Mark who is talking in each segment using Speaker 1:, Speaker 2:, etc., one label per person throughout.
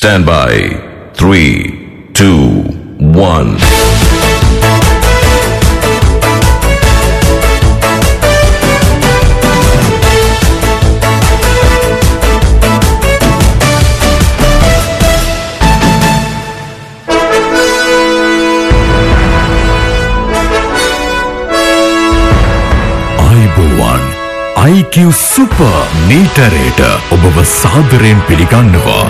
Speaker 1: Stand by. Three, two, one.
Speaker 2: අයිබෝවන් IQ super නීටරේට ඔබව සාදරයෙන් පිළිගන්නවා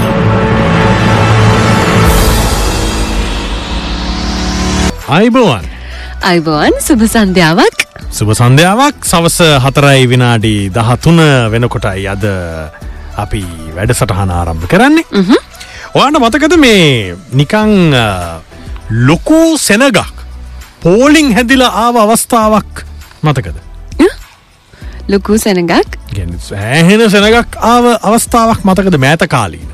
Speaker 3: අයිබෝවන්
Speaker 4: අයිබෝන් සුභ සන්ධ්‍යාවක්
Speaker 3: සුභ සන්ධ්‍යාවක් සවස හතරයි විනාඩි දහතුන වෙනකොටයි අද අපි වැඩ සටහන ආරම්භ කරන්නේ ඔයාට මතකද මේ නිකං ලොකු සෙනගක් පෝලිං හැදිල ආව අවස්ථාවක් මතකද
Speaker 4: ලොකු සැනගක්
Speaker 3: ගැන සෑහෙන සෙනගක් ආව අවස්ථාවක් මතකද මෑත කාලීන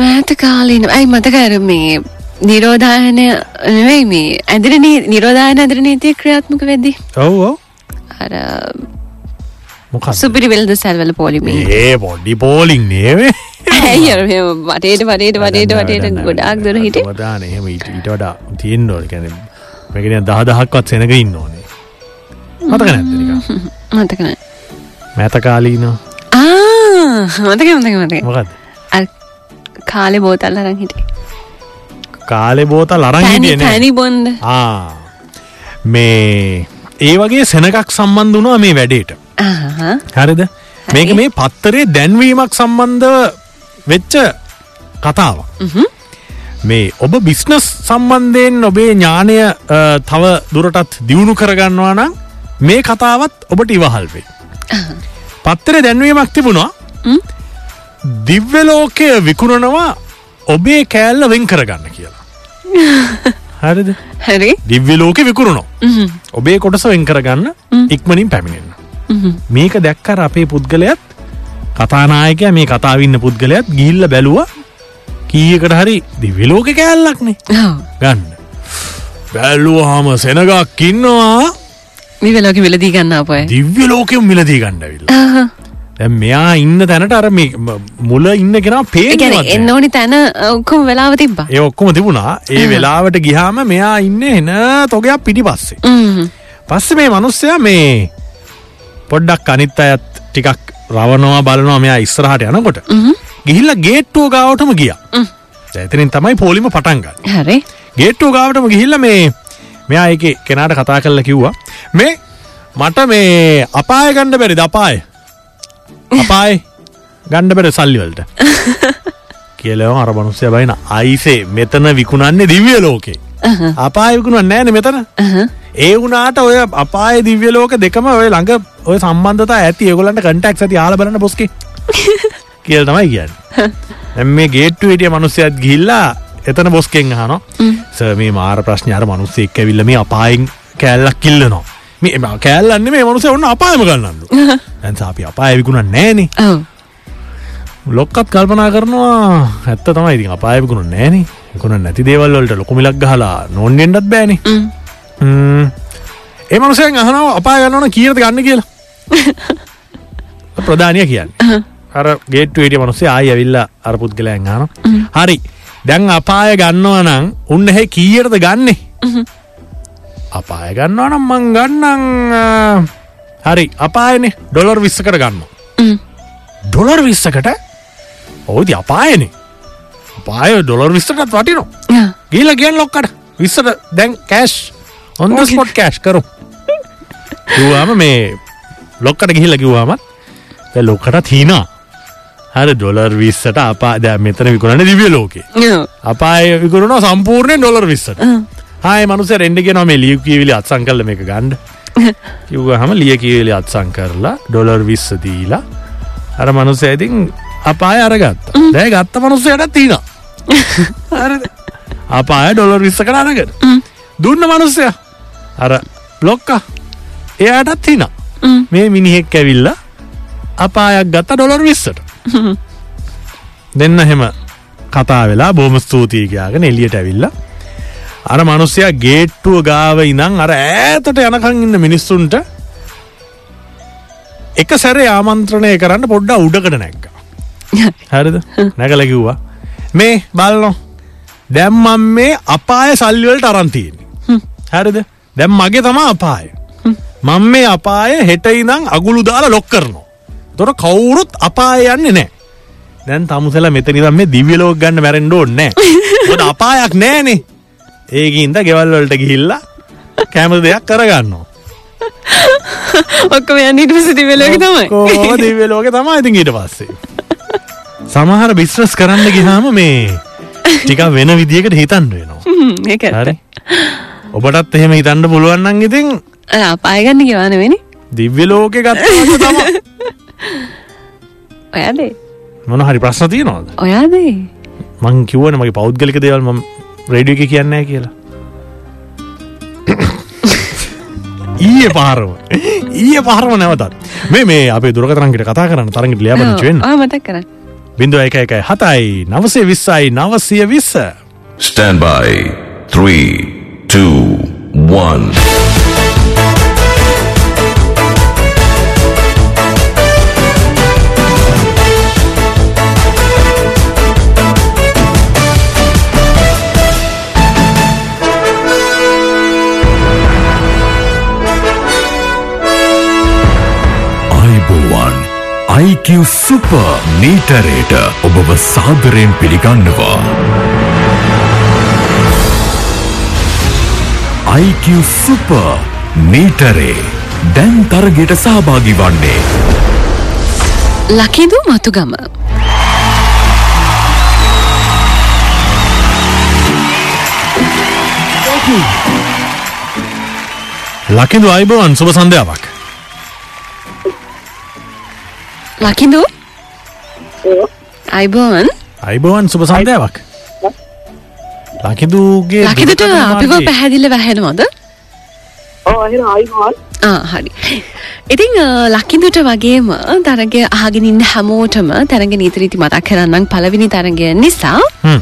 Speaker 4: මෑත කාලීන ඇයි මතකර මේ නිරෝධායනය නෙවෙයි මේ ඇදිරන නිරෝධායන ඇදිර නීතිය ක්‍රියාත්මක වෙද්දි
Speaker 3: ඔව්ෝ
Speaker 4: අර
Speaker 3: මොක
Speaker 4: සුපිරි වෙල්ද සැල්වල පොලිමේ
Speaker 3: ඒ පොඩ්ඩි පෝලිං නේවේ
Speaker 4: ඇයි අර මෙහෙම වටේට වටේට වටේට වටේට ගොඩාක් දුර හිට
Speaker 3: දාන එහෙම ඊට ඊට වඩා තියෙන් ඕන කැන මැගෙන දහ දහක්වත් සෙනක ඉන්න ඕනේ මතක නැත්ක
Speaker 4: මතකන
Speaker 3: මැතකාලීන
Speaker 4: මතක මතක මතක
Speaker 3: මොකත්
Speaker 4: අර කාලෙ බෝතල් අරන් හිට
Speaker 3: කාලෙ බෝතල් අරන් හිටියන
Speaker 4: පැනි බොන්ද
Speaker 3: මේ ඒ වගේ සෙනකක් සම්බන්ධ වුණා මේ වැඩේට
Speaker 4: ආහා.
Speaker 3: හරිද මේක මේ පත්තරේ දැන්වීමක් සම්බන්ධ වෙච්ච කතාව මේ ඔබ බිස්නස් සම්බන්ධයෙන් ඔබේ ඥානය අ, තව දුරටත් දියුණු කරගන්නවා නම් මේ කතාවත් ඔබට ඉවහල්වේ පත්තරේ දැන්වීමක් තිබුණා දිව්‍යලෝකය විකුණනවා ඔබේ කෑල්ල වෙන් කරගන්න කියලා හරිද
Speaker 4: හරි
Speaker 3: දිව්‍යලෝක විකුරුණෝ ඔබේ කොටස වෙන් කරගන්න ඉක්මනින් පැමිණෙන්න මේක දැක්කර අපේ පුද්ගලයත් කතානායකය මේ කතාවන්න පුද්ගලයත් ගිල්ල බැලුව කීකට හරි දිවිලෝක කෑල්ලක්නේ
Speaker 4: ඔව්.
Speaker 3: ගන්න බැල්ලුව හාම සෙනගක් කින්නවා
Speaker 4: මේ වෙලාගේ වෙලදී ගන්න අපය
Speaker 3: දිව්‍ය ලෝකයම් මිලදී ගණ්ඩවිල්ල දැ මෙයා ඉන්න තැනට අර මේ ම- මුල ඉන්න කෙනා
Speaker 4: ගැන
Speaker 3: පේගෙනවත්
Speaker 4: එන්න ඕනි තැන ඔක්කොම වෙලාව තිබ්බා
Speaker 3: ඒ ඔක්කොම තිබුණා ඒ වෙලාවට ගිහාම මෙයා ඉන්න එන තොගයක් පිටි පස්සේ
Speaker 4: ම්හ්.
Speaker 3: පස්ස මේ මනුස්සය මේ පොඩ්ඩක් අනිත් අයත් ටිකක් රවනවා බලනවා මෙයා ඉස්සරහට යනකොට ගිහිල්ල ගේට්ටුව ගාවටම ගිය ඇතනින් තමයි පෝලිම පටන්ගන්න
Speaker 4: හරි
Speaker 3: ගේට්ටුව ගාවටම ගිහිල්ල මේ මෙයා එක කෙනාට කතා කරල කිව්වා මේ මට මේ අපාය ගණ්ඩ බැරි දපාය අපායි ගණ්ඩ බැට සල්ලිවලට කියලව අර මනුස්සය බයින අයිසේ මෙතන විකුණන්නේ දිවිය ලෝකේ අපාය විකුණුවන් නෑන මෙතන ඒ වුණට ඔය අපාය දිව්‍ය ලෝක දෙකම ඔය ළඟ ඔය සම්බන්ධතා ඇති ඒගොලන්ට කටක් ඇති යාලබලන්න බොස්ක කියල් තමයි කියන්න එම මේ ගේට්ටු හිටිය මනුස්සයත් ගිල්ලා එතන බොස්කෙන් හන සමී මාර ප්‍රශ්න අර මනුස්සෙක් ඇවිල්ල මේ අපායින් කෑල්ලක් කිල්ලනවා මේ එම කෑල්ලන්නේ මේ මනුස ඔන්න අපායම ගන්නන්නු ඇන්සාපි අපාය විකුණන් නෑනේ
Speaker 4: ඔව්
Speaker 3: ලොක්කත් කල්පනා කරනවා ඇත්ත තමයි ඉතින් අපායකුණු නෑන කුණ නැති දේවල්ලට ලොකුමිලක් හලා නොන්ඩෙන්ඩත් බෑන එමනුසයෙන් අහනාව අපා ගන්නවන කියරද ගන්න කියලා ප්‍රධානය කියන්න අර ගේට්ටේට මනුසේ ආය ඇවිල්ල අර පුද්ගලයන් ගන හරි දැන් අපාය ගන්නවා නම් උන්න හැ කීරද ගන්නේ අපාය ගන්නවා නම් මං ගන්නන් අ, හරි අපායනේ ඩොලර් විස්සකට ගන්නවා ඩොලර් විස්සකට ඔවති අපායනේ පාය ඩොලර් විස්සටත් වටිනෝ
Speaker 4: යා.
Speaker 3: ගීල ගෙන් ලොක්කට විස්සට දැන් කෑශ් ඔන්න ස්පොට් කෑශ් කරු කිව්වාම මේ ලොක්කට ගිහිල කිව්වාමත් දැන් ලොක්කට හීනා හර ඩොලර් විස්සට අපා දැ මෙතන විකුණන දිවිය ලෝකේ
Speaker 4: ඔව්.
Speaker 3: අපාය විකරුණ සම්පූර්ණය ඩොලර් විස්සට හය මනුස රෙන්ඩග නොම ලිය කියවිලි අත්සං කරල එක ගණ්ඩ කිව්ව හම ලිය කියවිලි අත්සං කරලා ඩොලර් විස්ස දීලා අර මනුස ඇතින් අපාය අරගත්ත දැය ගත්ත මනුස්සයට තින අපාය ඩොලර් විස්ස කර අරගට දුන්න මනුස්සය අර බ්ලොක්ක එයාටත් තින මේ මිනිහෙක් ඇවිල්ල අපායක් ගත්ත ඩොලර් විස්සට දෙන්න හෙම කතා වෙලා බොහම ස්තූතියකයාගෙන එලියට ඇවිල්ලා අර මනුස්සයා ගේට්ටුව ගාව ඉනං අර ඇතට යනකං ඉන්න මිනිස්සුන්ට එක සැර ආමන්ත්‍රණය කරන්න පොඩ්ඩ උඩකට නැක්ක හරිද නැකලකිව්වා මේ බලනො දැම්මම් මේ අපාය සල්ලිවලට අරන්තියෙන්නේ හැරිද දැම් මගේ තමා අපාය මං මේ අපාය හෙටයිදං අගුළු දාලා ලොක් කරනවා තොර කවුරුත් අපාය යන්නේ නෑ දැන් තමුසල මෙතනිදම් මේ දිවියලෝක් ගන්න මැරෙන්ඩ ඕන්නෑ ොට අපායක් නෑනේ ඒකින්ද ගෙවල්වලට ගිහිල්ලා කෑම දෙයක් කරගන්නවා
Speaker 4: ඔක්කොම යන්න ඉට පසති වෙලක තමයි
Speaker 3: ඔක්කොම දිව්‍ය ලෝකේ තමයි ඉතින් ඊට පස්සේ. සමහර බිස්නස් කරන්න ගියාම මේ ටිකක් වෙන විදියකට හිතන්න වෙනවා.
Speaker 4: ඒක
Speaker 3: හරි. ඔබටත් එහෙම හිතන්න පුළුවන් නම් ඉතින්
Speaker 4: අපායගන්න ගවාන වෙනි
Speaker 3: දිව්‍ය ලෝකේ ගත්තාම තමයි
Speaker 4: ඔයාදේ
Speaker 3: මොන හරි ප්‍රශ්න තියෙනවද?
Speaker 4: ඔයාදේ
Speaker 3: මං කිව්වනේ මගේ පෞද්ගලික දේවල් මම රේඩියෝ එකේ කියන්නේ නැහැ කියලා. ඊයේ පාරම ඊයේ පාරම නැවතත් මේ මේ අපේ දුරකතරන්ගට කතා කරන්න තරගට ලියාපදිච්චි වෙන්න
Speaker 4: මතක් කර
Speaker 3: බිඳුව එක එකයි හතයි නවසේ විස්සයි නවසය විස්ස
Speaker 1: Stand by. Three, two, one.
Speaker 2: අයිබෝවන් IQ සුප නීටරේට ඔබව සාදරයෙන් පිළිගන්නවා IQ සුප නීටරේ දැන් තරගෙට සහභාගි වන්නේ
Speaker 4: ලකිදූ මතු ගම
Speaker 3: ලකිදු අයිබෝවන් සුබ සන්ධාවක්
Speaker 4: ලකිදූ අයිබෝවන්
Speaker 3: අයිබෝවන් සුබ සන්ධාවක් ලකිදුගේ
Speaker 4: ලකිදට අපිකෝ පැහැදිල වැහෙනවද
Speaker 5: ආයිමල්
Speaker 4: ආ, හරි. ඉතිං ලකිදුට වගේම තරග අහගෙනින් හැමෝටම තරග නීතරීති මතක් කරන්නම් පලවිනි තරගය නිසා
Speaker 3: හ්ම්.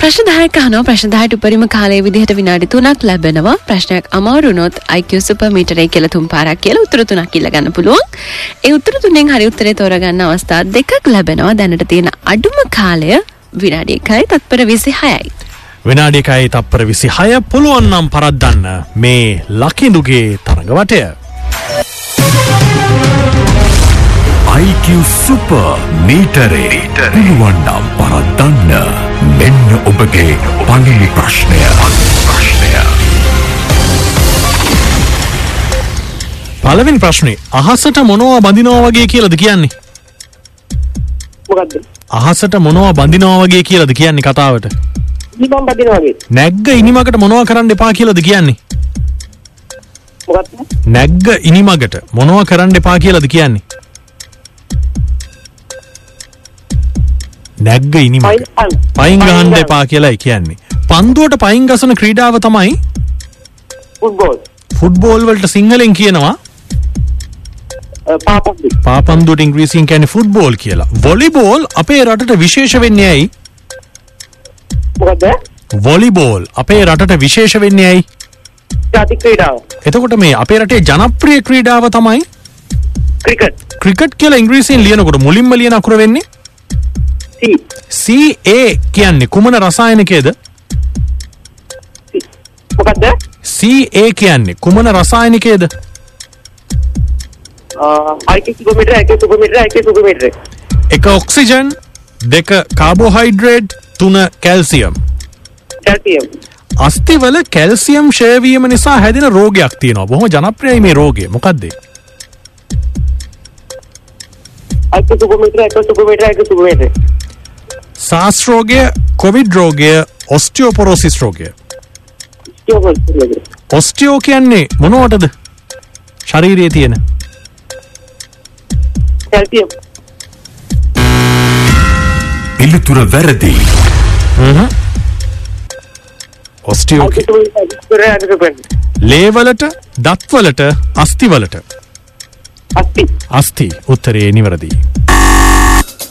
Speaker 4: ප්‍රශ්දායක හනෝ ප්‍රශ්දායට උපරිම කාලේ විදිහට විනාඩි තුනක් ලැබෙනවා ප්‍රශ්නයක් අමාරුනොත් IQ සුපමීටරේ කියල තුම් පාරක් කියල උතුරතුනක් කිල්ලගන්න පුළුවන් ඒ උතුරතුනෙන් හරි උත්තරේ තෝරගන්න අවස්ථා දෙකක් ලැබෙනවා දැනට තියෙන අඩුම කාලය විනාඩි එකයි තත්පර විසි හයයි.
Speaker 3: විනාඩිකයි තප්පර විසි හය පුළුවන්නම් පරද්දන්න මේ ලකිදුගේ තරඟවටය
Speaker 2: IQ සුප නීටරේ පුළුවන්නම් පරත්දන්න මෙන්න ඔබගේ පනිලි ප්‍රශ්නය ප්‍රශ්නය
Speaker 3: පලවින් ප්‍රශ්නේ අහසට මොනවා බඳිනෝ වගේ කියලද කියන්නේ
Speaker 5: මොකක්ද
Speaker 3: අහසට මොනවා බඳිනෝ වගේ කියලද කියන්නේ කතාවට
Speaker 5: නිබම් බදින වගේ
Speaker 3: නැග්ග ඉනිමකට මොනවා කරන්න එපා කියලද කියන්නේ
Speaker 5: මොකක්ද
Speaker 3: නැග්ග ඉනිමගට මොනවා කරන්න එපා කියලද කියන්නේ නැග්ග ඉනිමග
Speaker 5: පයින් ගහන්න.
Speaker 3: පයින් ගහන්න
Speaker 5: ගහන්න.
Speaker 3: එපා කියලයි කියන්නේ පන්දුවට පයින් ගසන ක්‍රීඩාව තමයි
Speaker 5: ෆුට්බෝල්
Speaker 3: ෆුඩ්බෝල් වලට සිංහලෙන් කියනවා
Speaker 5: පාපක්ද
Speaker 3: පාපන්දුවට ඉංග්‍රීසින් කැන ෆුඩ්බෝල් කියලා වොලිබෝල් අපේ රටට විශේෂ වෙන්නේ ඇයි
Speaker 5: මොකක්ද
Speaker 3: වොලිබෝල් අපේ රටට විශේෂ වෙන්නේ ඇයි
Speaker 5: ජාති ක්‍රීඩාව
Speaker 3: එතකොට මේ අපේ රටේ ජනප්‍රිය ක්‍රීඩාව තමයි
Speaker 5: ක්‍රිකට්
Speaker 3: ක්‍රිකට් කියලා ඉංග්‍රීසින් ලියනකොට මුලින්ම ලියන අකුර වෙන්නේ
Speaker 5: සී
Speaker 3: CA කියන්නේ කුමන රසායනකේද
Speaker 5: මොකක්ද
Speaker 3: CA කියන්නේ කුමන රසායනිකේද
Speaker 5: අයික සුපමිටර එක සුපමිටර එක සුපමිටර
Speaker 3: එක ඔක්සිජන් දෙක කාබෝහයිඩ්‍රේඩ් තුන කැල්සියම්
Speaker 5: ජැතියම්
Speaker 3: අස්තිවල කැල්සියම් ශයවීම නිසා හැදින රෝගයක් තියෙනවා බොහොම ජනප්‍රියයි මේ රෝගය මොකක්දේ
Speaker 5: අයික සුපමිටර එක සුපමිටර එක සුපමිටර
Speaker 3: ශාස්ත්‍රෝගය කොවිඩ් රෝගය ඔස්ටියෝපොරෝසිස් රෝගය
Speaker 5: ස්ටියෝබල් සුපමිටර
Speaker 3: ඔස්ටියෝ කියන්නේ මොනවටද ශරීරයේ තියෙන
Speaker 5: ජැතියම්
Speaker 2: පිළිතුර වැරදි
Speaker 3: ඔස්ටියෝ
Speaker 5: අයික සුපමිටර එක සුපමිටර එක සුපමිටර
Speaker 3: ලේවලට දත්වලට අස්තිවලට
Speaker 5: අස්ති
Speaker 3: අස්ති උත්තරයේ නිවරදී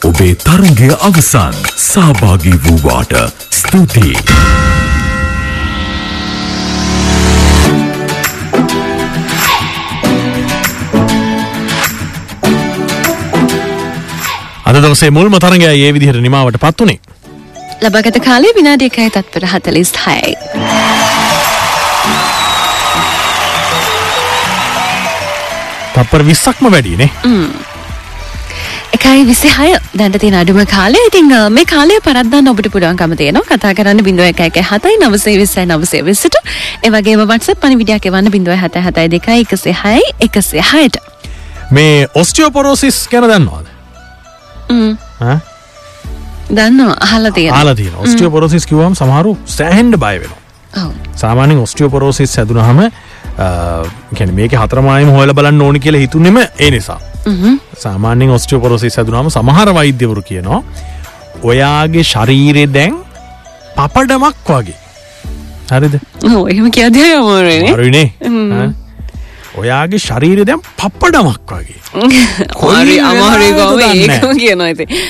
Speaker 2: ඔබේ තරගය අවසන් සහභාගී වූවාට ස්තුතියි
Speaker 3: අද දවසේ මුල්ම තරගය ඒ විදිහට නිමාවට පත් වුණේ
Speaker 4: ලබගත කාලේ විනාඩි එකයි තත්පර හතලිස් හයයි.
Speaker 3: තප්පර විස්සක්ම වැඩිනේ
Speaker 4: එකයි විසි හය දැන්ට තින අඩුම කාලේ ඉතිං අ, මේ කාලය පරද්දන්න ඔබට පුළුවන්කම තියනවා කතා කරන්න බිඳුව එක එක හතයි නවසේ විස්සයි නවසේ විස්සට ඒවගේ වටස පනි විඩියක් එවන්න බිඳුව හත හතයි දෙකයි එකසේ හයි එකසේ හයට
Speaker 3: මේ ඔස්ටියෝපොරෝසිස් කැන දන්නවාද
Speaker 4: දන්නවා අහල තිය
Speaker 3: ආලතින ඔස්ටියෝපොරෝසිස් කිවම් සමහරු සෑහන්ඩ බය වෙන සාමානෙන් ඔස්ටියෝපොරෝසිස් සැදුනහම කැන මේක හතරමායම හොල බලන්න ඕනි කියලා හිතුනෙම ඒ නිසා සාමානෙන් ඔස්ටියෝපොරෝසිස් සැදුනම සමහර වෛද්‍යවරු කියනවා ඔයාගේ ශරීරය දැන් පපඩමක් වගේ හරිද
Speaker 4: එහෙම කියදය යමෝරනේ
Speaker 3: අරුනේ ඔයාගේ ශරීරය දැම් පප්පඩමක් වගේ
Speaker 4: හරි
Speaker 3: කොයි
Speaker 4: අමාරය
Speaker 3: වෙලාවේද දන්නේ
Speaker 4: ගොම ඒකම කියනවා ඇති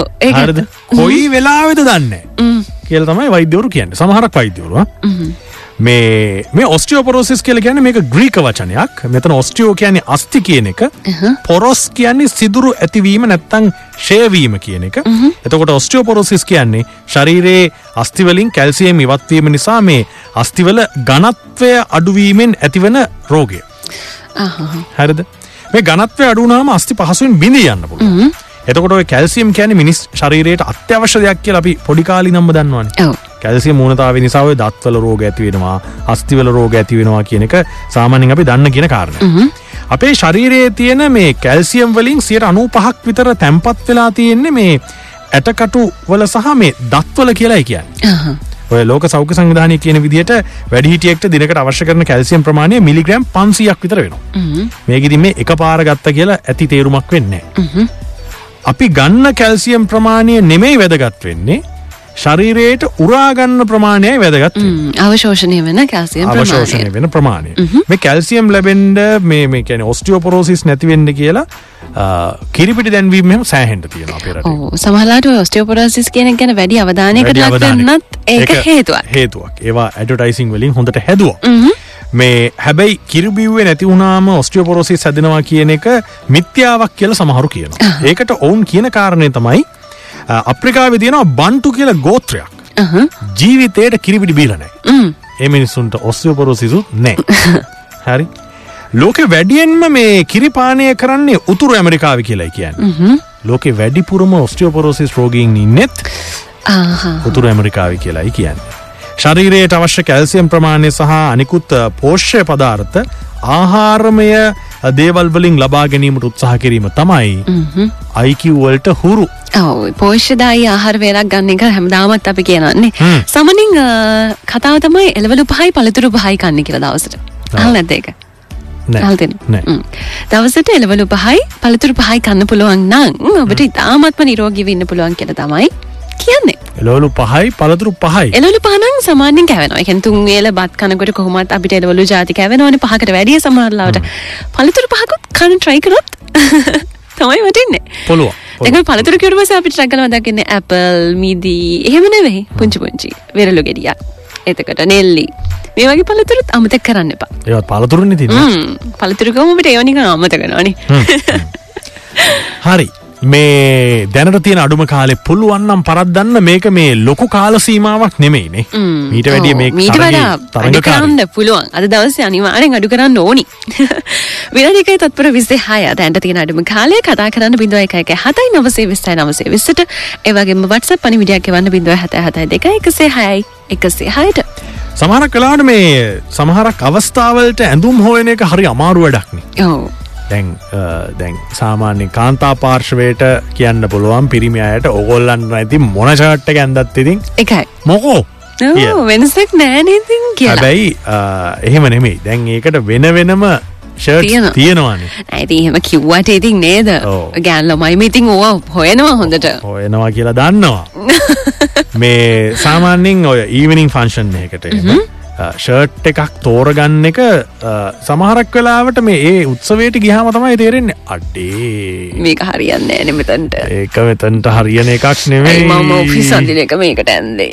Speaker 4: ඔව ඒ
Speaker 3: හරිද කොයි වෙලාවෙද දන්න කියල තමයි වෛද්‍යවරු කියන්න සමහරක් වෛද්‍යවරුව මේ මේ ඔස්ටියෝපොරෝසිස් කියල කියන මේ ග්‍රීක වචනයක් මෙතන ඔස්ටියෝ කියන්නේ අස්ති කියන එක පොරොස් කියන්නේ සිදුරු ඇතිවීම නැත්තං ශයවීම කියන එක එතකොට ඔස්ටියෝපොරෝසිස් කියන්නේ ශරීරයේ අස්තිවලින් කැල්සියම් ඉවත්වීම නිසා මේ අස්තිවල ගනත්වය අඩුවීමෙන් ඇතිවන රෝගය හැරද මේ ගනත්වය අඩුනාම අස්ති පහසුවෙන් බිඳ යන්න පුළුව එතකොට කැල්සිම් කැන මිනිස් ශරීරයට අත්‍යවශ්‍ය දෙයක් කිය අපි පොඩිකාලි නම්බ දන්නවන
Speaker 4: ඔව්.
Speaker 3: කැල්සිය මූනතාව නිසාාව දත්වල රෝග ඇතිවෙනවා අස්තිවල රෝග ඇතිවෙනවා කියන එක සාමාන්‍යෙන් අපි දන්න කියෙන කාරණ අපේ ශරීරයේ තියෙන මේ කැල්සියම් වලින් සියට අනු පහක් විතර තැම්පත් වෙලා තියෙන්නේ මේ ඇටකටු වල සහ මේ දත්වල කියලායි කියන්න ඔය ලෝක සෞඛ්‍ය සංවිධානය කියන විදිහට වැඩිහිටියෙක්ට දිනකට අවශ්‍ය කරන කැල්සියම් ප්‍රමාණය මිලිග්‍රම් පන්සියක් විතර වෙනවා මේකෙදි මේ එක පාර ගත්ත කියලා ඇති තේරුමක් වෙන්න අපි ගන්න කැල්සියම් ප්‍රමාණය නෙමෙයි වැදගත් වෙන්නේ ශරීරයට උරාගන්න ප්‍රමාණයයි වැදගත් වෙන්නේ.
Speaker 4: අවශෝෂණය වෙන කැසිය
Speaker 3: අවශෝෂණය වෙන ප්‍රමාණය මේ කැල්සියම් ලැබෙන්ඩ මේ මේ කැන ඔස්ටියෝපොරෝසිස් නැතිවෙන්න කියලා අ, කිරිපිටි දැන්වීම මෙම සෑහෙන්ට තියෙන අපේරට
Speaker 4: සමහලාට ඔස්ටෝපොරසිස් කියනක් ගැන වැඩි අවධානයකට ලක්ගන්නත් ඒක හේතුවක්
Speaker 3: හේතුවක් ඒවා ඇඩටයිසිං වලින් හොඳට හැදුව මේ හැබැයි කිරබිව්වේ නැති වුණාම ඔස්ට්‍රියපොරොසි සැදෙනවා කියන එක මිත්‍යාවක් කියල සමහරු කියනවා ඒකට ඔවුන් කියන කාරණය තමයි අ, අප්‍රිකාවේ තියෙනවා බන්ටු කියල ගෝත්‍රයක් ජීවිතයට කිරිපිටි බීලනෑ ඒ මිනිස්සුන්ට ඔස්යෝපොරොසිසු නෑ හරි ලෝකෙ වැඩියෙන්ම මේ කිරිපානය කරන්නේ උතුරු ඇමරිකාව කියලයි කියන්න ලෝකෙ වැඩිපුරම ඔස්ටියෝපොරොසිස් රෝගීන් ඉන්නෙත්
Speaker 4: ආහා
Speaker 3: උතුර ඇමරිකාව කියලායි කියන්න. ශරීරයට අවශ්‍ය කැල්සියම් ප්‍රමාණය සහ අනිකුත් පෝෂ්‍ය පදාර්ථ ආහාරමය දේවල්වලින් ලබා ගැනීමට උත්සාහ කිරීම තමයි අයිකිවල්ට හුරු
Speaker 4: ඔව පෝෂ්‍යදායි ආහාර වේලක් ගන්න එක හැමදාමත් අපි කියනන්නේ සමනින් කතාව තමයි එළවලු පහයි පළතුරු පහයි කන්න කියලා දවසට අහල නැත ඒක
Speaker 3: නෑ.
Speaker 4: අහල්තින
Speaker 3: නෑ.
Speaker 4: දවසට එළවලු පහයි පළතුරු පහයි කන්න පුළුවන් නම් ඔබට ඉතාමත්ම නිරෝගී වෙන්න පුළුවන් කියලා තමයි කියන්නේ
Speaker 3: එලෝලු පහයි පළතුරු පහයි
Speaker 4: එළවලු පහනම් සාමාන්‍යයෙන් කැවෙනවා එකෙන් තුන් වේල බත් කනකොට කොහොමත් අපිට එළවලු ජාති කැවෙනවනේ පහකට වැඩිය සමහරලාවට පළතුරු පහකුත් කන try කරොත් තමයි වටින්නේ
Speaker 3: පොළුව
Speaker 4: එක පළතුර කිරවස අපිට රැගලව දකින්න ඇපල් මිදී එහෙමන වෙයි පුංචි පුංචි වෙරලු ගෙඩිය එතකට නෙල්ලි මේ වගේ පළතුරුත් අමතක් කරන්න එපා
Speaker 3: ඒත් පළතුරුන්න තින
Speaker 4: ම්ම්. පළතුරුකමට ඒවනික අමතකනවානේ
Speaker 3: හරි මේ දැනට තියෙන අඩුම කාලෙ පුළුවන්නම් පරද්දන්න මේක මේ ලොකු කාල සීමාවක් නෙමෙයිනේ මීට වැඩිය මේ
Speaker 4: මීට වඩා අඩු
Speaker 3: තරඟකාරී.
Speaker 4: කරන්න පුළුවන් අද දවස අනිවාරෙන් අඩු කරන්න ඕනි විරජකයි තත්පර විසේ හය දැන්ට තියෙන අඩුම කාලය කතා කරන්න බිඳුව එක එක හතයි නවසේ විස්සයි නවසේ විස්සට ඒවගේම වටස පනි විඩියක් එවන්න බිඳුව හත හතයි දෙක එකසේ හයයි එකසේ හයට
Speaker 3: සමහරක් කලාට මේ සමහරක් අවස්ථාවලට ඇඳුම් හෝයන එක හරි අමාරු වැඩක්නේ
Speaker 4: ඔවු
Speaker 3: දැන් අ, දැන් සාමාන්‍ය කාන්තා පාර්ශවයට කියන්න පුළුවන් පිරිමි අයට ඔගොල්ලන්න ඇති මොනචාට්ට ඇන්දත් ඉතින්
Speaker 4: එකයි
Speaker 3: මොකෝ
Speaker 4: ඔව්,
Speaker 3: කියලා.
Speaker 4: වෙනසක් නෑනතින් කියලා
Speaker 3: හැබැයි අ, එහෙම නෙමෙයි දැන් ඒකට වෙන වෙනම ෂර්
Speaker 4: තියෙනවා.
Speaker 3: තියෙනවාන
Speaker 4: ඇති එහෙම කිව්වට ඉතින් නේද
Speaker 3: ඔව්.
Speaker 4: ගෑල්ලොමයිම ඉතින් ඕවා හොයනවා හොඳට
Speaker 3: හොයනවා කියලා දන්නවා මේ සාමාන්‍යෙන් ඔය ඊවනිින් ෆංශන් එකට එහෙම, අ, ෂර්ට් එකක් තෝරගන්න එක අ, සමහරක් වෙලාවට මේ ඒ උත්සවයට ගිහාම තමයි තේරෙන්නේ අඩ්ඩේ
Speaker 4: මේක හරියන්න නමතන්ට
Speaker 3: ඒක මෙතන්ට හරියන එකක් නෙවෙයි
Speaker 4: මම ඔෆිස් සඳින එක මේකට ඇන්දේ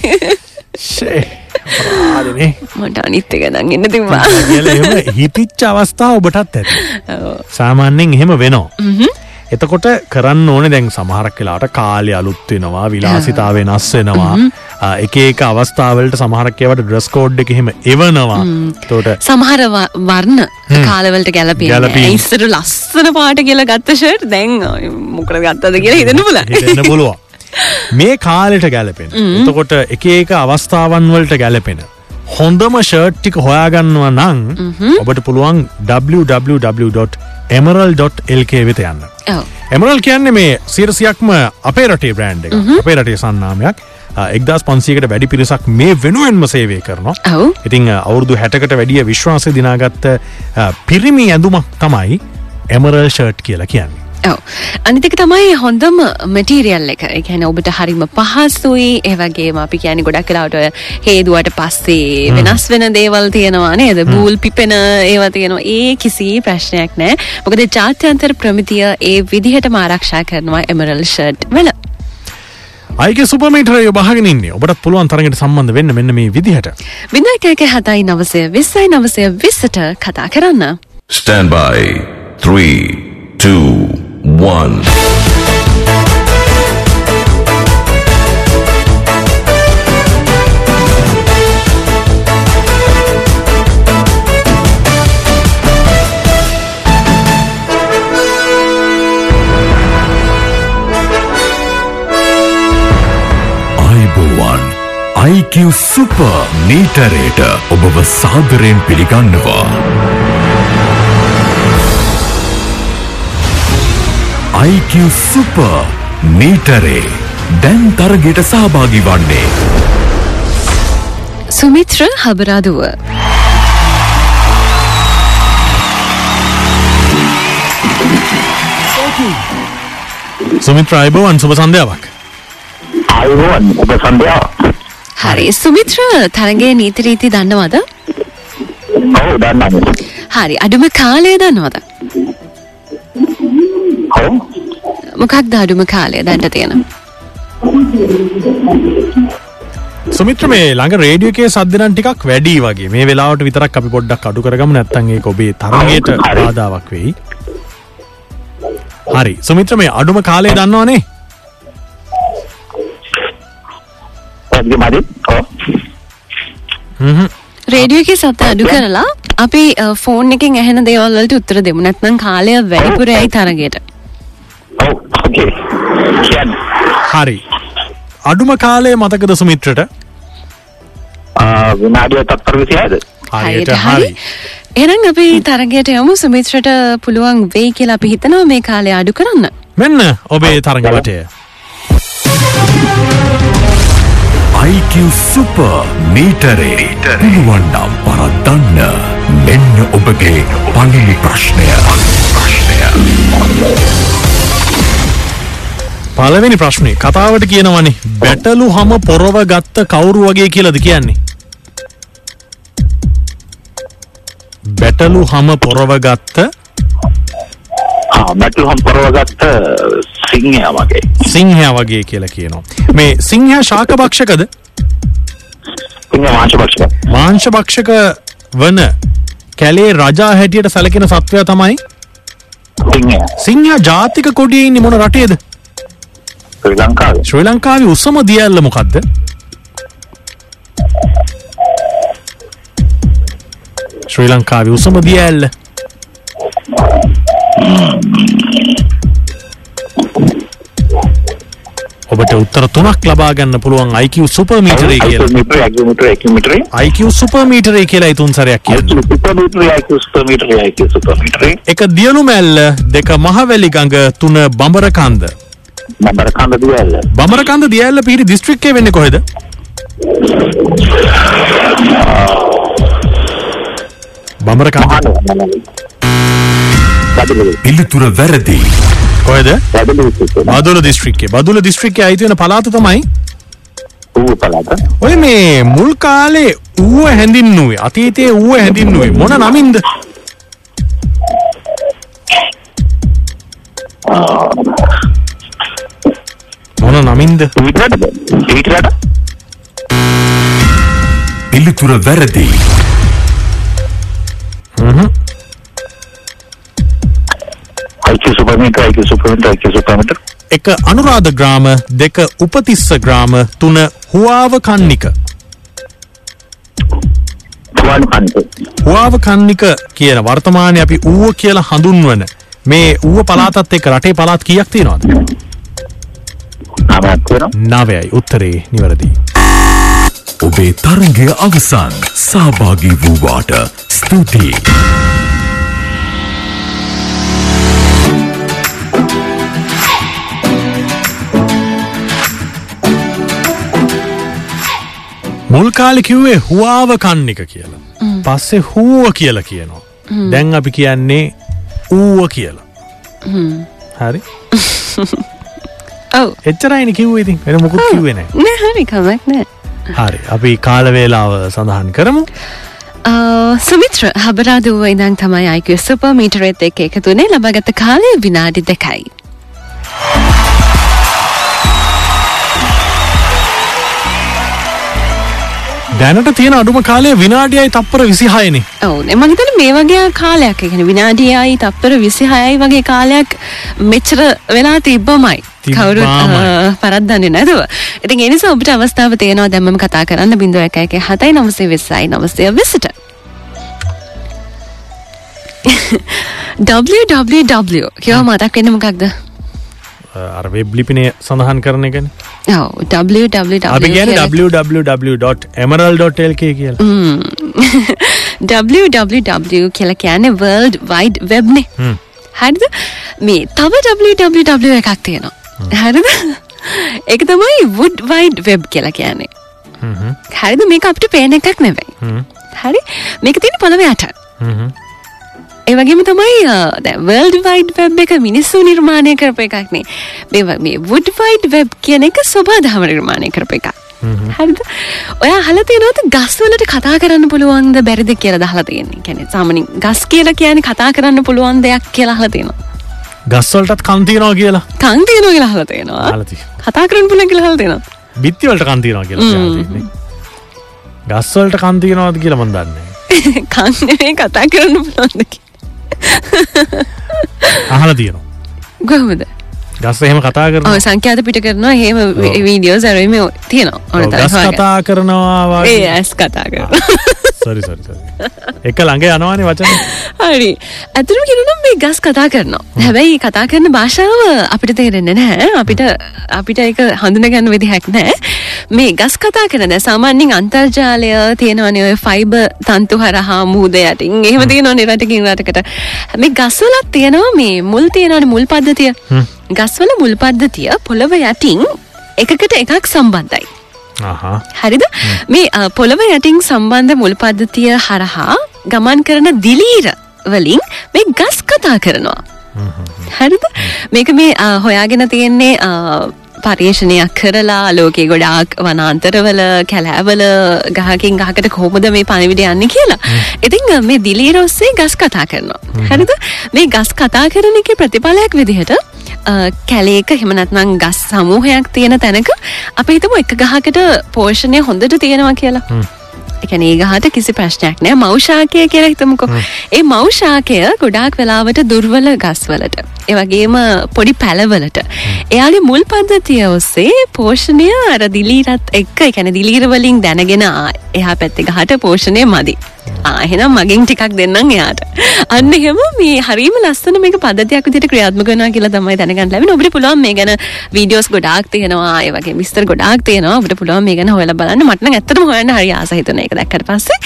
Speaker 3: ෂේ, අපාරනේ.
Speaker 4: මට අනිත් එක දන් එන්න තිබ්වා
Speaker 3: කියලා එහෙම හිතිච්ච අවස්ථාව ඔබටත් ඇති සාමාන්‍යයෙන් එහෙම වෙනවා එතකොට කරන්න ඕන දැන් සමහරක් කියලාට කාලය අලුත්වෙනවා විලාසිතාව වෙනස්වෙනවා එක ඒක අවස්ථාවලට සමහරක්කවට ඩ්‍රස් කෝඩ් එක හෙම එවනවා තෝට
Speaker 4: සමහර ව- වර්ණ කාලවලට ගැලපිය
Speaker 3: ගැලපෙන්නේ.
Speaker 4: ඉස්සර ලස්සන පාට කියල ගත්තෂට දැන් මොකර ගත්තද කියලා හිතන්න පුල
Speaker 3: හිතන්න පුළුවන් මේ කාලෙට ගැලපෙන එතකොට එක ඒක අවස්ථාවන් වලට ගැලපෙන හොඳම ෂර්ට්ටික හොයාගන්නවා නං ඔබට පුළුවන් www.emerald.lk වෙත යන්න එමරල් කියන්නේ මේ සිරසියක්ම අපේ රටේ බ්‍රෑන්් එක අපේ රටේ සන්නාමයක් එක්දස් පන්සීකට වැඩි පිරිසක් මේ වෙනුවෙන්ම සේවය කරනවා
Speaker 4: ඔව්.
Speaker 3: ඉතිං අවුරදු හැටකට වැඩිය විශ්වාසය දිනාගත්ත අ, පිරිමි ඇඳුමක් තමයි එමරල් ෂර්ට් කියලා කියන්නේ
Speaker 4: ඔව්. අනිතික තමයි හොඳම මටිරියල් එක එකැන ඔබට හරිම පහසුයි ඒවගේ අපි කියන ගොඩක් කලාට හේදුවට පස්සේ වෙනස් වෙන දේවල් තියෙනවා නේද බූල් පිපෙන ඒවා තියෙනවා ඒ කිසි ප්‍රශ්නයක් නෑ මොකද ජාත්‍යන්තර ප්‍රමිතිය ඒ විදිහට මාරක්ෂා කරනවා එමරල් ෂර්ට් වල
Speaker 3: අයික සුපමේටරය බහගෙනන්නේ ඔබට පුළුවන් තරගට සම්බන්ධ වෙන්න මෙන්න මේ විදිහට
Speaker 4: බිඳකෑක හතයි නවසය විස්සයි නවසය විස්සට කතා කරන්න.
Speaker 1: Stand by. Three, two, one.
Speaker 2: අයිබෝවන් IQ සුප නීටරේට ඔබව සාදරයෙන් පිළිගන්නවා IQ සුප නීටරේ දැන් තරගෙට සහභාගි වන්නේ
Speaker 4: සුමිත්‍ර හබරාදුව.
Speaker 3: සුමිත්‍ර අයිබවන් සුප සන්ධාවක්
Speaker 6: අයිුවන් ඔබ සන්ධයා
Speaker 4: හරි සුමිත්‍ර තරගේ නීතරීති දන්නවද?
Speaker 6: ඔවු දන්නන්න
Speaker 4: හරි අඩුම කාලය දන්නවද?
Speaker 6: හෝ
Speaker 4: මොකක්ද අඩුම කාලය දැන්ට තියෙන.
Speaker 3: සුමිත්‍ර මේ ළඟ රේඩියකේ සද්ධනන් ටිකක් වැඩි වගේ මේ වෙලාට විතරක් අපි පොඩ්ඩක් අඩු කරගම නැත්තන්ගේ ඔබේ තරගයට
Speaker 6: හරි.
Speaker 3: බාධාවක් වෙයි හරි සුමිත්‍ර මේ අඩුම කාලය දන්නවානේ
Speaker 6: ඔගේ මරි ඕ
Speaker 4: රේඩියෝක සත අඩු කරලා අපි ෆෝන් එකෙන් ඇහෙන දේවල්ලට උත්තර දෙමු නැත්නම් කාලය වැඩිපුරයි තරගයට.
Speaker 6: ඔව් ඔගේ කියන්
Speaker 3: හරි අඩුම කාලය මතකද සුමිත්‍රට
Speaker 6: විනාඩිය තත්පර විසියද
Speaker 3: හරියට හරි
Speaker 4: හරි. එහෙනම් අපි තරගයට යමු සුමිත්‍රට පුළුවන් වෙයි කියලා අපි හිතනවා මේ කාලය අඩු කරන්න.
Speaker 3: මෙන්න ඔබේ තරගවටය
Speaker 2: IQ සුප නීටරේ පුළුවන්නම් පරත්දන්න මෙන්න ඔබගේ පලිලි ප්‍රශ්නය ප්‍රශ්නය
Speaker 3: පලවෙනි ප්‍රශ්නය කතාවට කියනවනේ බැටලු හම පොරව ගත්ත කවුරු වගේ කියලද කියන්නේ බැටලු හම පොරව ගත්ත
Speaker 6: මැටල් හම් පරවගත්ත සිංහය මගේ
Speaker 3: සිංහය වගේ කියලා කියනවා මේ සිංහ ශාකභක්ෂකද
Speaker 6: සිංහ මාංශපක්ෂක
Speaker 3: මාංශභක්ෂක වන කැලේ රජා හැටියට සැලකෙන සත්වය තමයි
Speaker 6: සිංහය
Speaker 3: සිංහ ජාතික කොඩිය ඉන්න මොන රටේද
Speaker 6: ශ්‍රී ලංකාව
Speaker 3: ශ්‍රී ලංකාවේ උසම දියල්ල මොකක්ද ශ්‍රී ලංකාවේ උසම දියල්ල ඔබට උත්තර තුනක් ලබා ගන්න පුළුවන් IQ සුපර්මීටරේ කියලා
Speaker 6: මිට්‍ර ඇග මිට්‍ර එක මිට්‍ර
Speaker 3: IQ සුපර්මීටරේ කියලා ඉතුන් සරයක් කියන්න
Speaker 6: මිට්‍ර යක ස්ත මිට්‍ර යක සුප මිට්‍රේ
Speaker 3: එක දියලු මැල්ල දෙක මහවැලි ගඟ තුන බඹර කන්ද
Speaker 6: නම්බර කන්ද දියල්ල
Speaker 3: බමර කන්ද දියල්ල පිහිටි දිස්ත්‍රික්කය වෙන්නේ කොහෙද බමර කන්ද
Speaker 6: මහනුව පැදිලි
Speaker 2: පිළිතුර වැරදි
Speaker 3: කොහෙද
Speaker 6: පැදිලි සිත
Speaker 3: බදුල දිස්ත්‍රික්කේ බදුල දිස්ත්‍රික්කේ අයිතිවන පලාත තමයි
Speaker 6: ඌ පලාත
Speaker 3: ඔය මේ මුල් කාලේ ඌව හැඳින්නුවේ අතීතයේ ඌව හැඳින්නුවේ මොන නමින්ද මොන නමින්ද
Speaker 6: විටරට විටරට
Speaker 2: පිළිතුර වැරදි
Speaker 6: IQ super meter IQ super meter IQ super meter
Speaker 3: එක අනුරාධ ග්‍රාම දෙක උපතිස්ස ග්‍රාම තුන හුවාව කන්නික
Speaker 6: वन हंड्रेड
Speaker 3: හුවාව කන්නික කියන වර්තමානය අපි ඌව කියලා හඳුන්වන මේ ඌව පලාතත් එක්ක රටේ පලාත් කියක් තියෙනවද
Speaker 6: नाम आपको ना
Speaker 3: නවයයි උත්තරේ නිවැරදි
Speaker 2: ඔබේ තරගය අවසන් සහභාගී වූවාට ස්තුතියි.
Speaker 3: මුල් කාලි කිව්වේ හුවාව කන්නික කියලා පස්සේ හුව කියලා කියනවා දැන් අපි කියන්නේ ඌව කියලා හරි
Speaker 4: ඔව්
Speaker 3: එච්චරයින කිව්ව ඉතින් වෙන මොකුත් කිව්වෙන
Speaker 4: නෑ හරි කමක් නෑ
Speaker 3: හරි අපි කාලවේලාව සඳහන් කරමු
Speaker 4: ආ, සුමිත්‍ර හබරාදුව ඉඳන් තමයි අයිකය සුප මීටරේත් එක එකතුනේ ලබගත කාලය විනාඩි දෙකයි.
Speaker 3: දැනට තියෙන අඩුම කාලය විනාඩියයි තප්පර විසිහයනේ
Speaker 4: ඔවුන් එමගතන මේ වගේ කාලයක් එකන විනාඩියයි තත්පර විසි හයයි වගේ කාලයක් මෙච්චර වෙලා තිබ්බමයි කවුරු
Speaker 3: තිබ්බාමයි.
Speaker 4: පරද්දන්න නැතුව ඉතින් එනිසා ඔබට අවස්ථාව තියෙනවා දැම්ම කතා කරන්න බිඳුව එක එක හතයි නවසේ වෙස්සයි නවසය විසිට www කියව මතක් වෙන මොකක්ද
Speaker 3: අර වෙබ්ලිපිනය සඳහන් කරන එකන
Speaker 4: ඔව්, www
Speaker 3: අපි ගැන
Speaker 4: කියලා
Speaker 3: www.emerald.lk කියල
Speaker 4: www කියල කියන වර්ල්ඩ් වයිඩ් වෙබ්නේ හරිද මේ තව www එකක් තියෙනවා හරිද එක තමයි වුඩ් වයිඩ් වෙබ් කියලා කියන්නේ හරිද මේක අපට පේන එකක් නෙවෙයි හරි මේක තියෙන පොළොවයට ඒවගේම තමයි වල්ඩ වයිඩ් වෙබ් එක මිනිස්සු නිර්මාණය කරප එකක්නේ මෙ මේ වුඩ් වයිඩ් වෙබ් කියන එක ස්වබාධාව නිර්මාණය කරප එකක් හරිද ඔය හලතිනොත් ගස්වලට කතා කරන්න පුළුවන්ද බැරිද කියල දහලතියන්නේ කැනෙ සාමනින් ගස් කියලා කියන කතා කරන්න පුළුවන් දෙයක් කියලා හලතිනවා
Speaker 3: ගස්වලටත් කන්තිනවා කියලා
Speaker 4: කන්තියනෝ කියලා හලතියනවා
Speaker 3: හලා තියෙනවා.
Speaker 4: කතා කරන්න පුලන් කියලා හලතිනවා
Speaker 3: බිත්තිවලට කන්තිනවා කියලා ගස්වලට කන්තිනවාද කියල මන්දන්නේ
Speaker 4: කන්නේ කතා කරන්න පුළොන්ද
Speaker 3: අහල තියනවා
Speaker 4: ගොහමද
Speaker 3: ගස්ස එහෙම කතා කරන
Speaker 4: ඔය සංඛ්‍යාත පිට කරනවා හෙම
Speaker 3: ඔව්.
Speaker 4: වීඩියෝ සැරීම තියෙනවා ඔන
Speaker 3: ගස්
Speaker 4: තරවා
Speaker 3: කතා කරනවා
Speaker 4: ඒ ඇස් කතා කරන
Speaker 3: සරි සරි සරි එක ළඟ යනවානේ වචන
Speaker 4: හරි ඇතරම කිරනම් මේ ගස් කතා කරනවා හැබැයි කතා කරන භාෂාව අපිට තේරෙන්න නෑ අපිට අපිට එක හඳුන ගැන්න විදිහැක් නෑ මේ ගස් කතා කරන සාමාන්‍යින් අන්තර්ජාලය තියෙනවනය ෆයිබ තන්තු හරහා මූදයටටින් එහම තියෙනවා නිරටකින් රටකට මේ ගස්වලත් තියෙනවා මේ මුල් තියෙනට මුල් පද්ධතිය ගස්වල මුල් පද්ධතිය පොළොව යටින් එකකට එකක් සම්බන්ධයි
Speaker 3: අහා
Speaker 4: හරිද මේ අ, පොළොව යටින් සම්බන්ධ මුල් පද්ධතිය හරහා ගමන් කරන දිලීර වලින් මේ ගස් කතා කරනවා. හරිද මේක මේ අ, හොයාගෙන තියෙන්නේ අ, පර්යේෂණයක් කරලා ලෝකේ ගොඩාක් වනාන්තරවල කැලෑවල ගහකින් ගහකට කොහොමද මේ පණවිඩ යන්න කියලා. ඉතින් අ, මේ දිලීරොස්සේ ගස් කතා කරනවා. හරිද මේ ගස් කතා කරන එක ප්‍රතිඵලයක් විදිහට අ, කැලේක හෙමනත්නම් ගස් සමූහයක් තියෙන තැනක අප හිතම එක ගහකට පෝෂණය හොඳට තියෙනවා කියලා. එකන ඒ ගහට කිසි ප්‍රශ්නයක් නෑ මෞෂාකය කියලා හිතමකෝ ඒ මෞෂාකය ගොඩාක් වෙලාවට දුර්වල ගස්වලට ඒවගේම පොඩි පැලවලට එයාලි මුල් පද්ධතිය ඔස්සේ පෝෂණය අර දිලීරත් එක්ක එකැන දිලීරවලින් දැනගෙන ආ එහා පැත්ති ගහට පෝෂණය මදි ආහෙනම් මගින් ටිකක් දෙන්නම් එයාට අන්න එහෙම මේ හරිම ලස්සන මේ පදයක් විට ක්‍රියාත්මකන කියලා තමයි දැනගන්න ලැබෙන ඔබට පුළුවන් මේ ගැන වීඩියෝස් ගොඩාක් තියෙනවා ඒ වගේ විස්තර ගොඩාක් තියෙනවා ඔබට පුළුවන් මේ ගැන හොයලා බලන්න මට නම් ඇත්තටම හොයන්න හරි ආස හිතෙන එක දැක්කට පස්සේ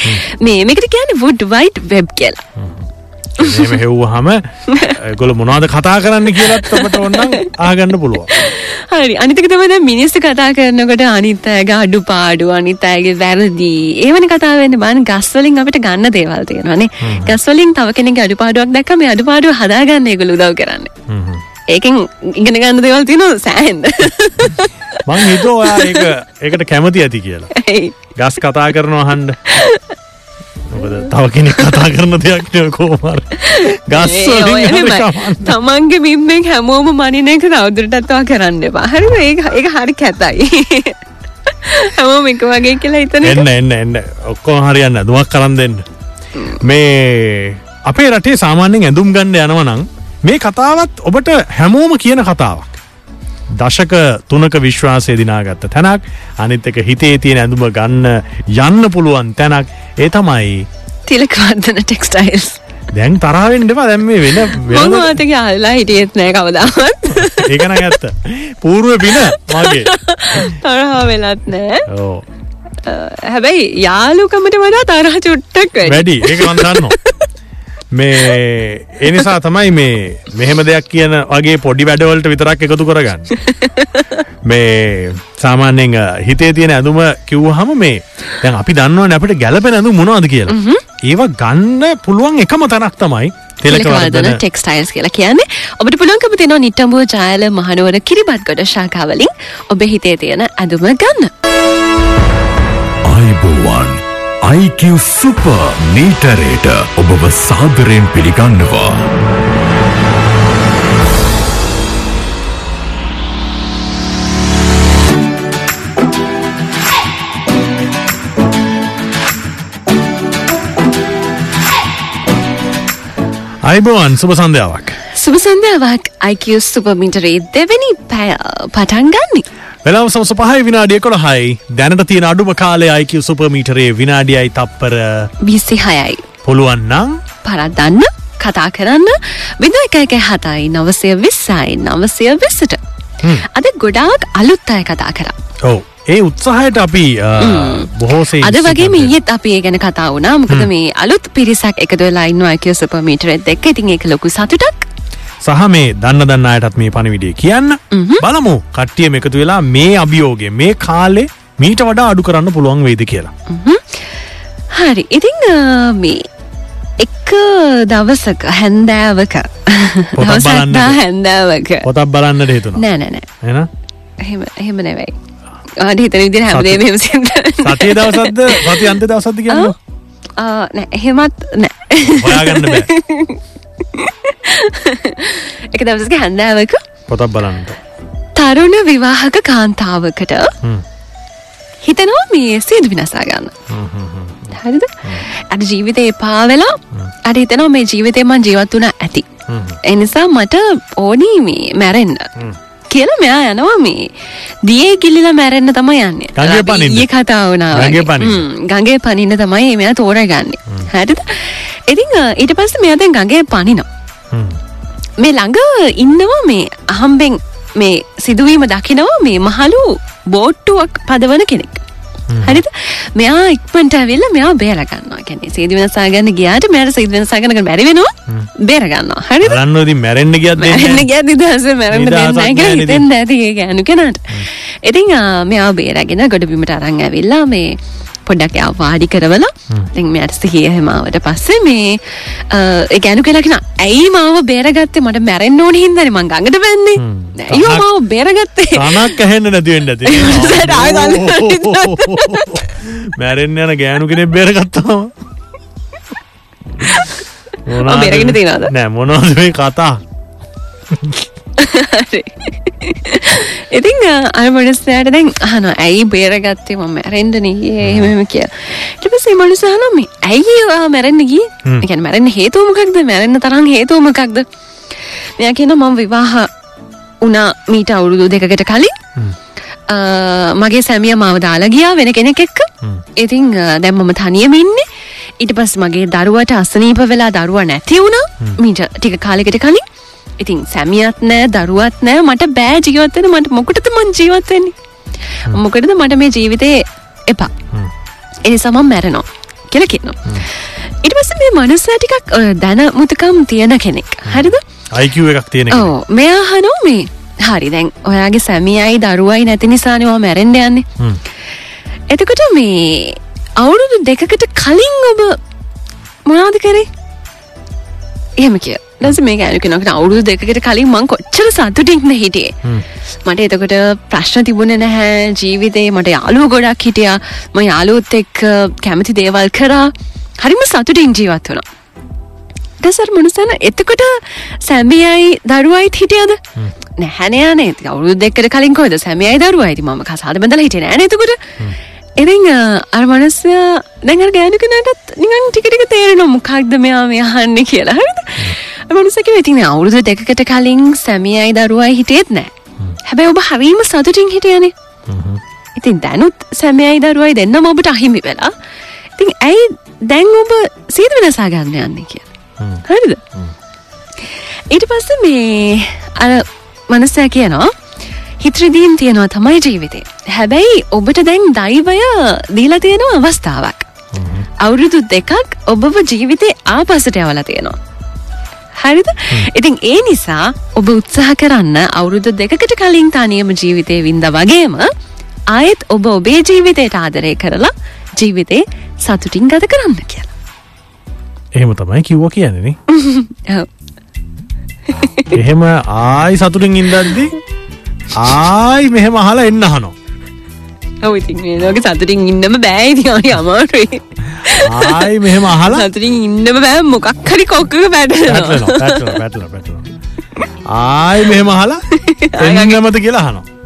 Speaker 4: මේ මේකට කියන්නේ wood white web කියලා
Speaker 3: එහෙම හෙව්වහම ගොල මොනවාද කතා කරන්න කියලත් ඔබට ඔන්නම් ආගන්න පුළුවන්
Speaker 4: හරි අනිතක තමයි දැන් මිනිස්සු කතා කරනකොට අනිත් අයගේ අඩුපාඩු අනිත් අයගේ වැරදි ඒවනේ කතා වෙන්නේ බලන්න ගස් වලින් අපිට ගන්න දේවල් තියෙනවානේ ගස් වලින් තව කෙනෙක්ගේ අඩුපාඩුවක් දැක්කම මේ අඩුපාඩුව හදාගන්න ඒගොල්ලෝ උදව් කරන්නේ ඒකෙන් ඉගෙන ගන්න දේවල් තියෙනවා සෑහෙන්න
Speaker 3: මං හිතෝ ඔයා ඒක- ඒකට කැමති ඇති කියලා
Speaker 4: ඇයි?
Speaker 3: ගස් කතා කරනවා හන්ඩ මොකද තව කෙනෙක් කතා කරන දෙයක් නෑ කෝමර ගස්
Speaker 4: ඒ
Speaker 3: වලින්
Speaker 4: ඔය
Speaker 3: හරි
Speaker 4: නෙමෙයි.
Speaker 3: කමක් නෑ.
Speaker 4: තමන්ගේ මින්මෙන් හැමෝම මනින එක තවදුරටත්වා කරන්න එපා හරිම ඒ හරි කැතයි හැමෝම එක වගේ කියලා හිතන එක
Speaker 3: එන්න එන්න එන්න ඔක්කෝ හරියන්න දුවක් කරන් දෙන්න මේ අපේ රටේ සාමාන්‍යෙන් ඇඳුම් ගණ්ඩ යනවනං මේ කතාවත් ඔබට හැමෝම කියන කතාවක්. දශක තුනක විශ්වාසය දිනාගත්ත තැනක් අනිත් එක හිතේ තියෙන ඇඳුම ගන්න යන්න පුළුවන් තැනක් ඒ තමයි
Speaker 4: තිලකවර්ධන ටෙක්ස්ටයිල්ස්
Speaker 3: දැන් තරාවෙන්ටවා දැම් මේ වෙන
Speaker 4: මං
Speaker 3: වෙන
Speaker 4: වාතක අල්ලා හිටියෙත් නෑ කවදාවත්
Speaker 3: ඒකන ඇත්ත පූර්ුව පින මගේ
Speaker 4: තරහා වෙලත් නෑ
Speaker 3: ඕ
Speaker 4: හැබැයි යාලුකමට වඩා තරහ චුට්ටක් වැඩි.
Speaker 3: වැඩි ඒක වන්දන්න මේ එනිසා තමයි මේ මෙහෙම දෙයක් කියන වගේ පොඩි වැඩවලට විතරක් එකතු කරගන්න මේ සාමාන්‍යෙන් අ, හිතේ තියෙන ඇඳුම කිව් හම මේ දැන් අපි දන්නවන අපට ගැලපෙන ඇඳු මොනවාද කියලා ඒවා ගන්න පුළුවන් එකම තැනක් තමයි
Speaker 4: තිලකවර්ධන
Speaker 3: තෙලකවර්ධන
Speaker 4: ටෙක්ස්ටයිල්ස් කියලා කියන්නේ ඔබට පුළුවන්කම තියෙනවා නිට්ටඹුව ජායල මහනුවර කිරිබත්ගොඩ ශාඛාවලින් ඔබේ හිතේ තියෙන ඇඳුම ගන්න.
Speaker 2: අයිබෝවන් IQ සුපර් මීටරයට ඔබව සාදරයෙන් පිළිගන්නවා.
Speaker 3: අයිබෝවන් සුබ සන්ධාවක්
Speaker 4: සුබ සන්ධාවක් IQ සුපමින්ටරේ දෙවැනි පැය පටන් ගන්න.
Speaker 3: වෙලාව සමස පහයි විනාඩිය කොළ හයි දැනට තියෙන අඩුම කාලය අයික සුපමීටරේ විනාඩියයි තප්පර
Speaker 4: විසි හයයි.
Speaker 3: පුළුවන්නම්
Speaker 4: පරදන්න කතා කරන්න විඳ එක එක හතයි නවසය විස්සයි නවසය විස්සට. අද ගොඩාක් අලුත් අය කතා කර.
Speaker 3: ඔව ඒ උත්සාහයට අපි බොහෝසේ
Speaker 4: අද වගේ ඒත් අපි ඒ ගැන කතා වුණා මොකද මේ අලුත් පිරිසක් එකද ලයින්න අයික සුපමිටරෙත් දෙක් ඉතින් එක ලොකු සතුටක්.
Speaker 3: සහ මේ දන්න දන්න අයටත් මේ පණවිඩිය කියන්න බලමු කට්ටියම එකතු වෙලා මේ අභියෝගේ මේ කාලේ මීට වඩා අඩු කරන්න පුළුවන් වේද කියලා
Speaker 4: හරි ඉතිං මේ එක දවසක හැන්දෑවක
Speaker 3: බලන්නද?
Speaker 4: දවසක්දා හැන්දෑවක
Speaker 3: පොතක් බලන්න හේතුන
Speaker 4: නෑනෑ
Speaker 3: එන
Speaker 4: එහෙම එහෙම නෙවයි ආඩ හිතන විදිර හැමදේ මෙම
Speaker 3: සතිය දවසත්ද වති අන්ත දවසත්ද කියන්න
Speaker 4: නෑ එහෙමත් නෑ
Speaker 3: හොයාගන්න බෑ.
Speaker 4: එක දවසක හැන්දෑවක
Speaker 3: පොතක් බලන්න
Speaker 4: තරුණ විවාහක කාන්තාවකට හිතනවා මේ සේද විනසා ගන්න හරිද අඩ ජීවිතය එපා වෙලා අඩ හිතනවා මේ ජීවිතය මන් ජීවත් වුණ ඇති එනිසා මට ඕනී මේ මැරෙන්න කියල මෙයා යනවා මේ දිය ගිල්ලිල මැරෙන්න තමයි යන්න
Speaker 3: ගඟේ පනින්න.
Speaker 4: ඒ කතාවනාව
Speaker 3: ගඟේ පනින්න.
Speaker 4: ගඟේ පනින්න තමයි මෙයා තෝරගන්න හැරිද ඉතිං අ, ඊට පස්ස මෙයාදැන් ගඟේ පනිනවා මේ ළඟ ඉන්නවා මේ අහම්බෙන් මේ සිදුවීම දකිනවා මේ මහලු බෝට්ටුවක් පදවන කෙනෙක් හරිත මෙයා ඉක්මට ඇවිල්ල මෙයා බේරගන්නවා කැනෙ සේද වෙනසා ගන්න ගියාට මෙයට සිද වෙනසාගනක බැරිවෙනවා බේරගන්නවා හරි
Speaker 3: බලන්නෝදී මැරෙන්න්න ගියත්
Speaker 4: මැරෙන්න ගැ නිදහස මැරන්න
Speaker 3: නිදහසක්
Speaker 4: දෙන්නයි කියලා
Speaker 3: නෑ නේද?
Speaker 4: හිතෙන්ද ඇති ඒ ගෑනු කෙනාට ඉතිං ආ, මෙයා බේරගෙන ගොඩබිමට අරං ඇවිල්ලා මේ පොඩ්ඩක් යා වාඩි කරවල ඉතින් මෙයට සිහිය හෙමාවට පස්සේ මේ අ, ඒ ගැනු කෙනකිෙන ඇයි මාව බේරගත්තේ මට මැරෙන් ඕන හින්දන මං ගඟට බැන්නේ ඇයෝ මාව බේරගත්තේ
Speaker 3: තනක් ඇහෙන්න නැතිවෙන්න
Speaker 4: සර්, ආයෙ ගන්න
Speaker 3: ඇති මැරෙන් යන ගෑනු කෙනෙ බේරගත්තාව
Speaker 4: ඔව් බේරගෙන තියනවද?
Speaker 3: නෑ මොනවද මේ කතා
Speaker 4: හරි. ඉතිං අරමඩස්නෑට දැන් හන ඇයි බේරගත්තේ ම මැරෙන්ඩනගේ එහෙමම කිය ටිපසේ මනුසාහනම ඇයිවා මැරෙන්න්නගී එක මැරෙන් හේතුවමකක්ද මැරෙන්න්න තරම් හේතුවමකක්ද මෙයා කියන මම විවාහ උනා මීට අවුරුදු දෙකකට කලින් අ, මගේ සැමිය මාව දාලා ගියා වෙන කෙනෙක් එක්ක ඉතිං දැම්මම තනියම ඉන්නේ ඉට පස් මගේ දරුවට අසනීප වෙලා දරුව නැති වුණා මීට ටික කාලෙකට කලින් ඉතින් සැමියත් නෑ දරුවත් නෑ මට බෑ ජීවත්වෙන මට මොකටද මං ජීවත්වෙන්නේ මොකටද මට මේ ජීවිතය එපා එනිසාම මැරනෝ කියල කියනවා ඉට පස මේ මනුස්සය ටිකක් අ, දැන මුතුකම් තියෙන කෙනෙක් හරිද
Speaker 3: අයික එකක් තියෙන එක.
Speaker 4: ඕ මෙයා හනෝ මේ හරි දැන් ඔයාගේ සැමියයි දරුවයි නැති නිසානවා මැරෙන්ඩ යන්නේ
Speaker 3: හ්ම්.
Speaker 4: එතකොට මේ අවුරුදු දෙකකට කලින් ඔබ මොනාද කරේ එහම කිය දස මේ ගැනකෙනකට අවුරුදු දෙකට කලින් මං කොච්චර සතුටික්න හිටියේ මට එතකොට ප්‍රශ්න තිබුණ නැහැ ජීවිතේ මට යාලුව ගොඩක් හිටියා ම යාලුත් එක් කැමති දේවල් කරා හරිම සතුටින් ජීවත් වුණා දසර් මනුසන එතකොට සැමියයි දරුවයිත් හිටියද නැහැනයනේ අවුරුදු දෙකට කලින් කොයිද සැමියයි දරුවයිති මම කසාද බඳල හිට නෑනතකොට එරි අර මනස්ය දැඟර ගෑනකනටත් නිගන් ටිකටික තේරෙන මොකක්ද මෙයා මෙයහන්න කියලා හරිද මනුසක වෙතින අවුරුදු දෙකට කලින් සැමියයි දරුවයි හිටියත් නෑ. හැබැයි ඔබ හරීම සතුටින් හිටියන. ඉතින් දැනුත් සැමයයි දරුවයි දෙන්න ඔබට අහිමි වෙලා. ඉතින් ඇයි දැන් ඔබ සීද වෙනසාගන්න යන්නේ කිය. හරිද. ඊට පස්ස මේ අර මනස්සෑ කියනවා හිත්‍රදීම් තියෙනවා තමයි ජීවිතේ. හැබැයි ඔබට දැන් දෛවය දීලා තියෙන අවස්ථාවක්. අවුරුදු දෙකක් ඔබව ජීවිතේ ආපසට යවලා තියෙනවා. හරිද ඉතින් ඒ නිසා ඔබ උත්සාහ කරන්න අවුරුදු දෙකකට කලින් තනියම ජීවිතය වින්ද වගේම ආයෙත් ඔබ ඔබේ ජීවිතයට ආදරය කරලා ජීවිතේ සතුටින් ගත කරන්න කියලා
Speaker 3: එහෙම තමයි කිව්ව කියන්නේන
Speaker 4: ඔව්.
Speaker 3: එහෙම ආයි සතුටින් ඉන්දද්දි ආයි මෙහෙම අහලා එන්න හනෝ
Speaker 4: ඔව් ඉතින් මේ ලෝකෙ සතුටින් ඉන්නම බෑ ඉතින් හරි අමාරුයි
Speaker 3: ආයි මෙහෙම අහලා
Speaker 4: සතුටින් ඉන්නම බෑ මොකක් හරි කොක්කක
Speaker 3: පැටලෙනවා,
Speaker 4: වැටෙනවා
Speaker 3: පැටලෙනවා, පැටලෙනවා, පැටලෙනවා. ආයි මෙහෙම අහලා එන්නමද කියලා අහනවා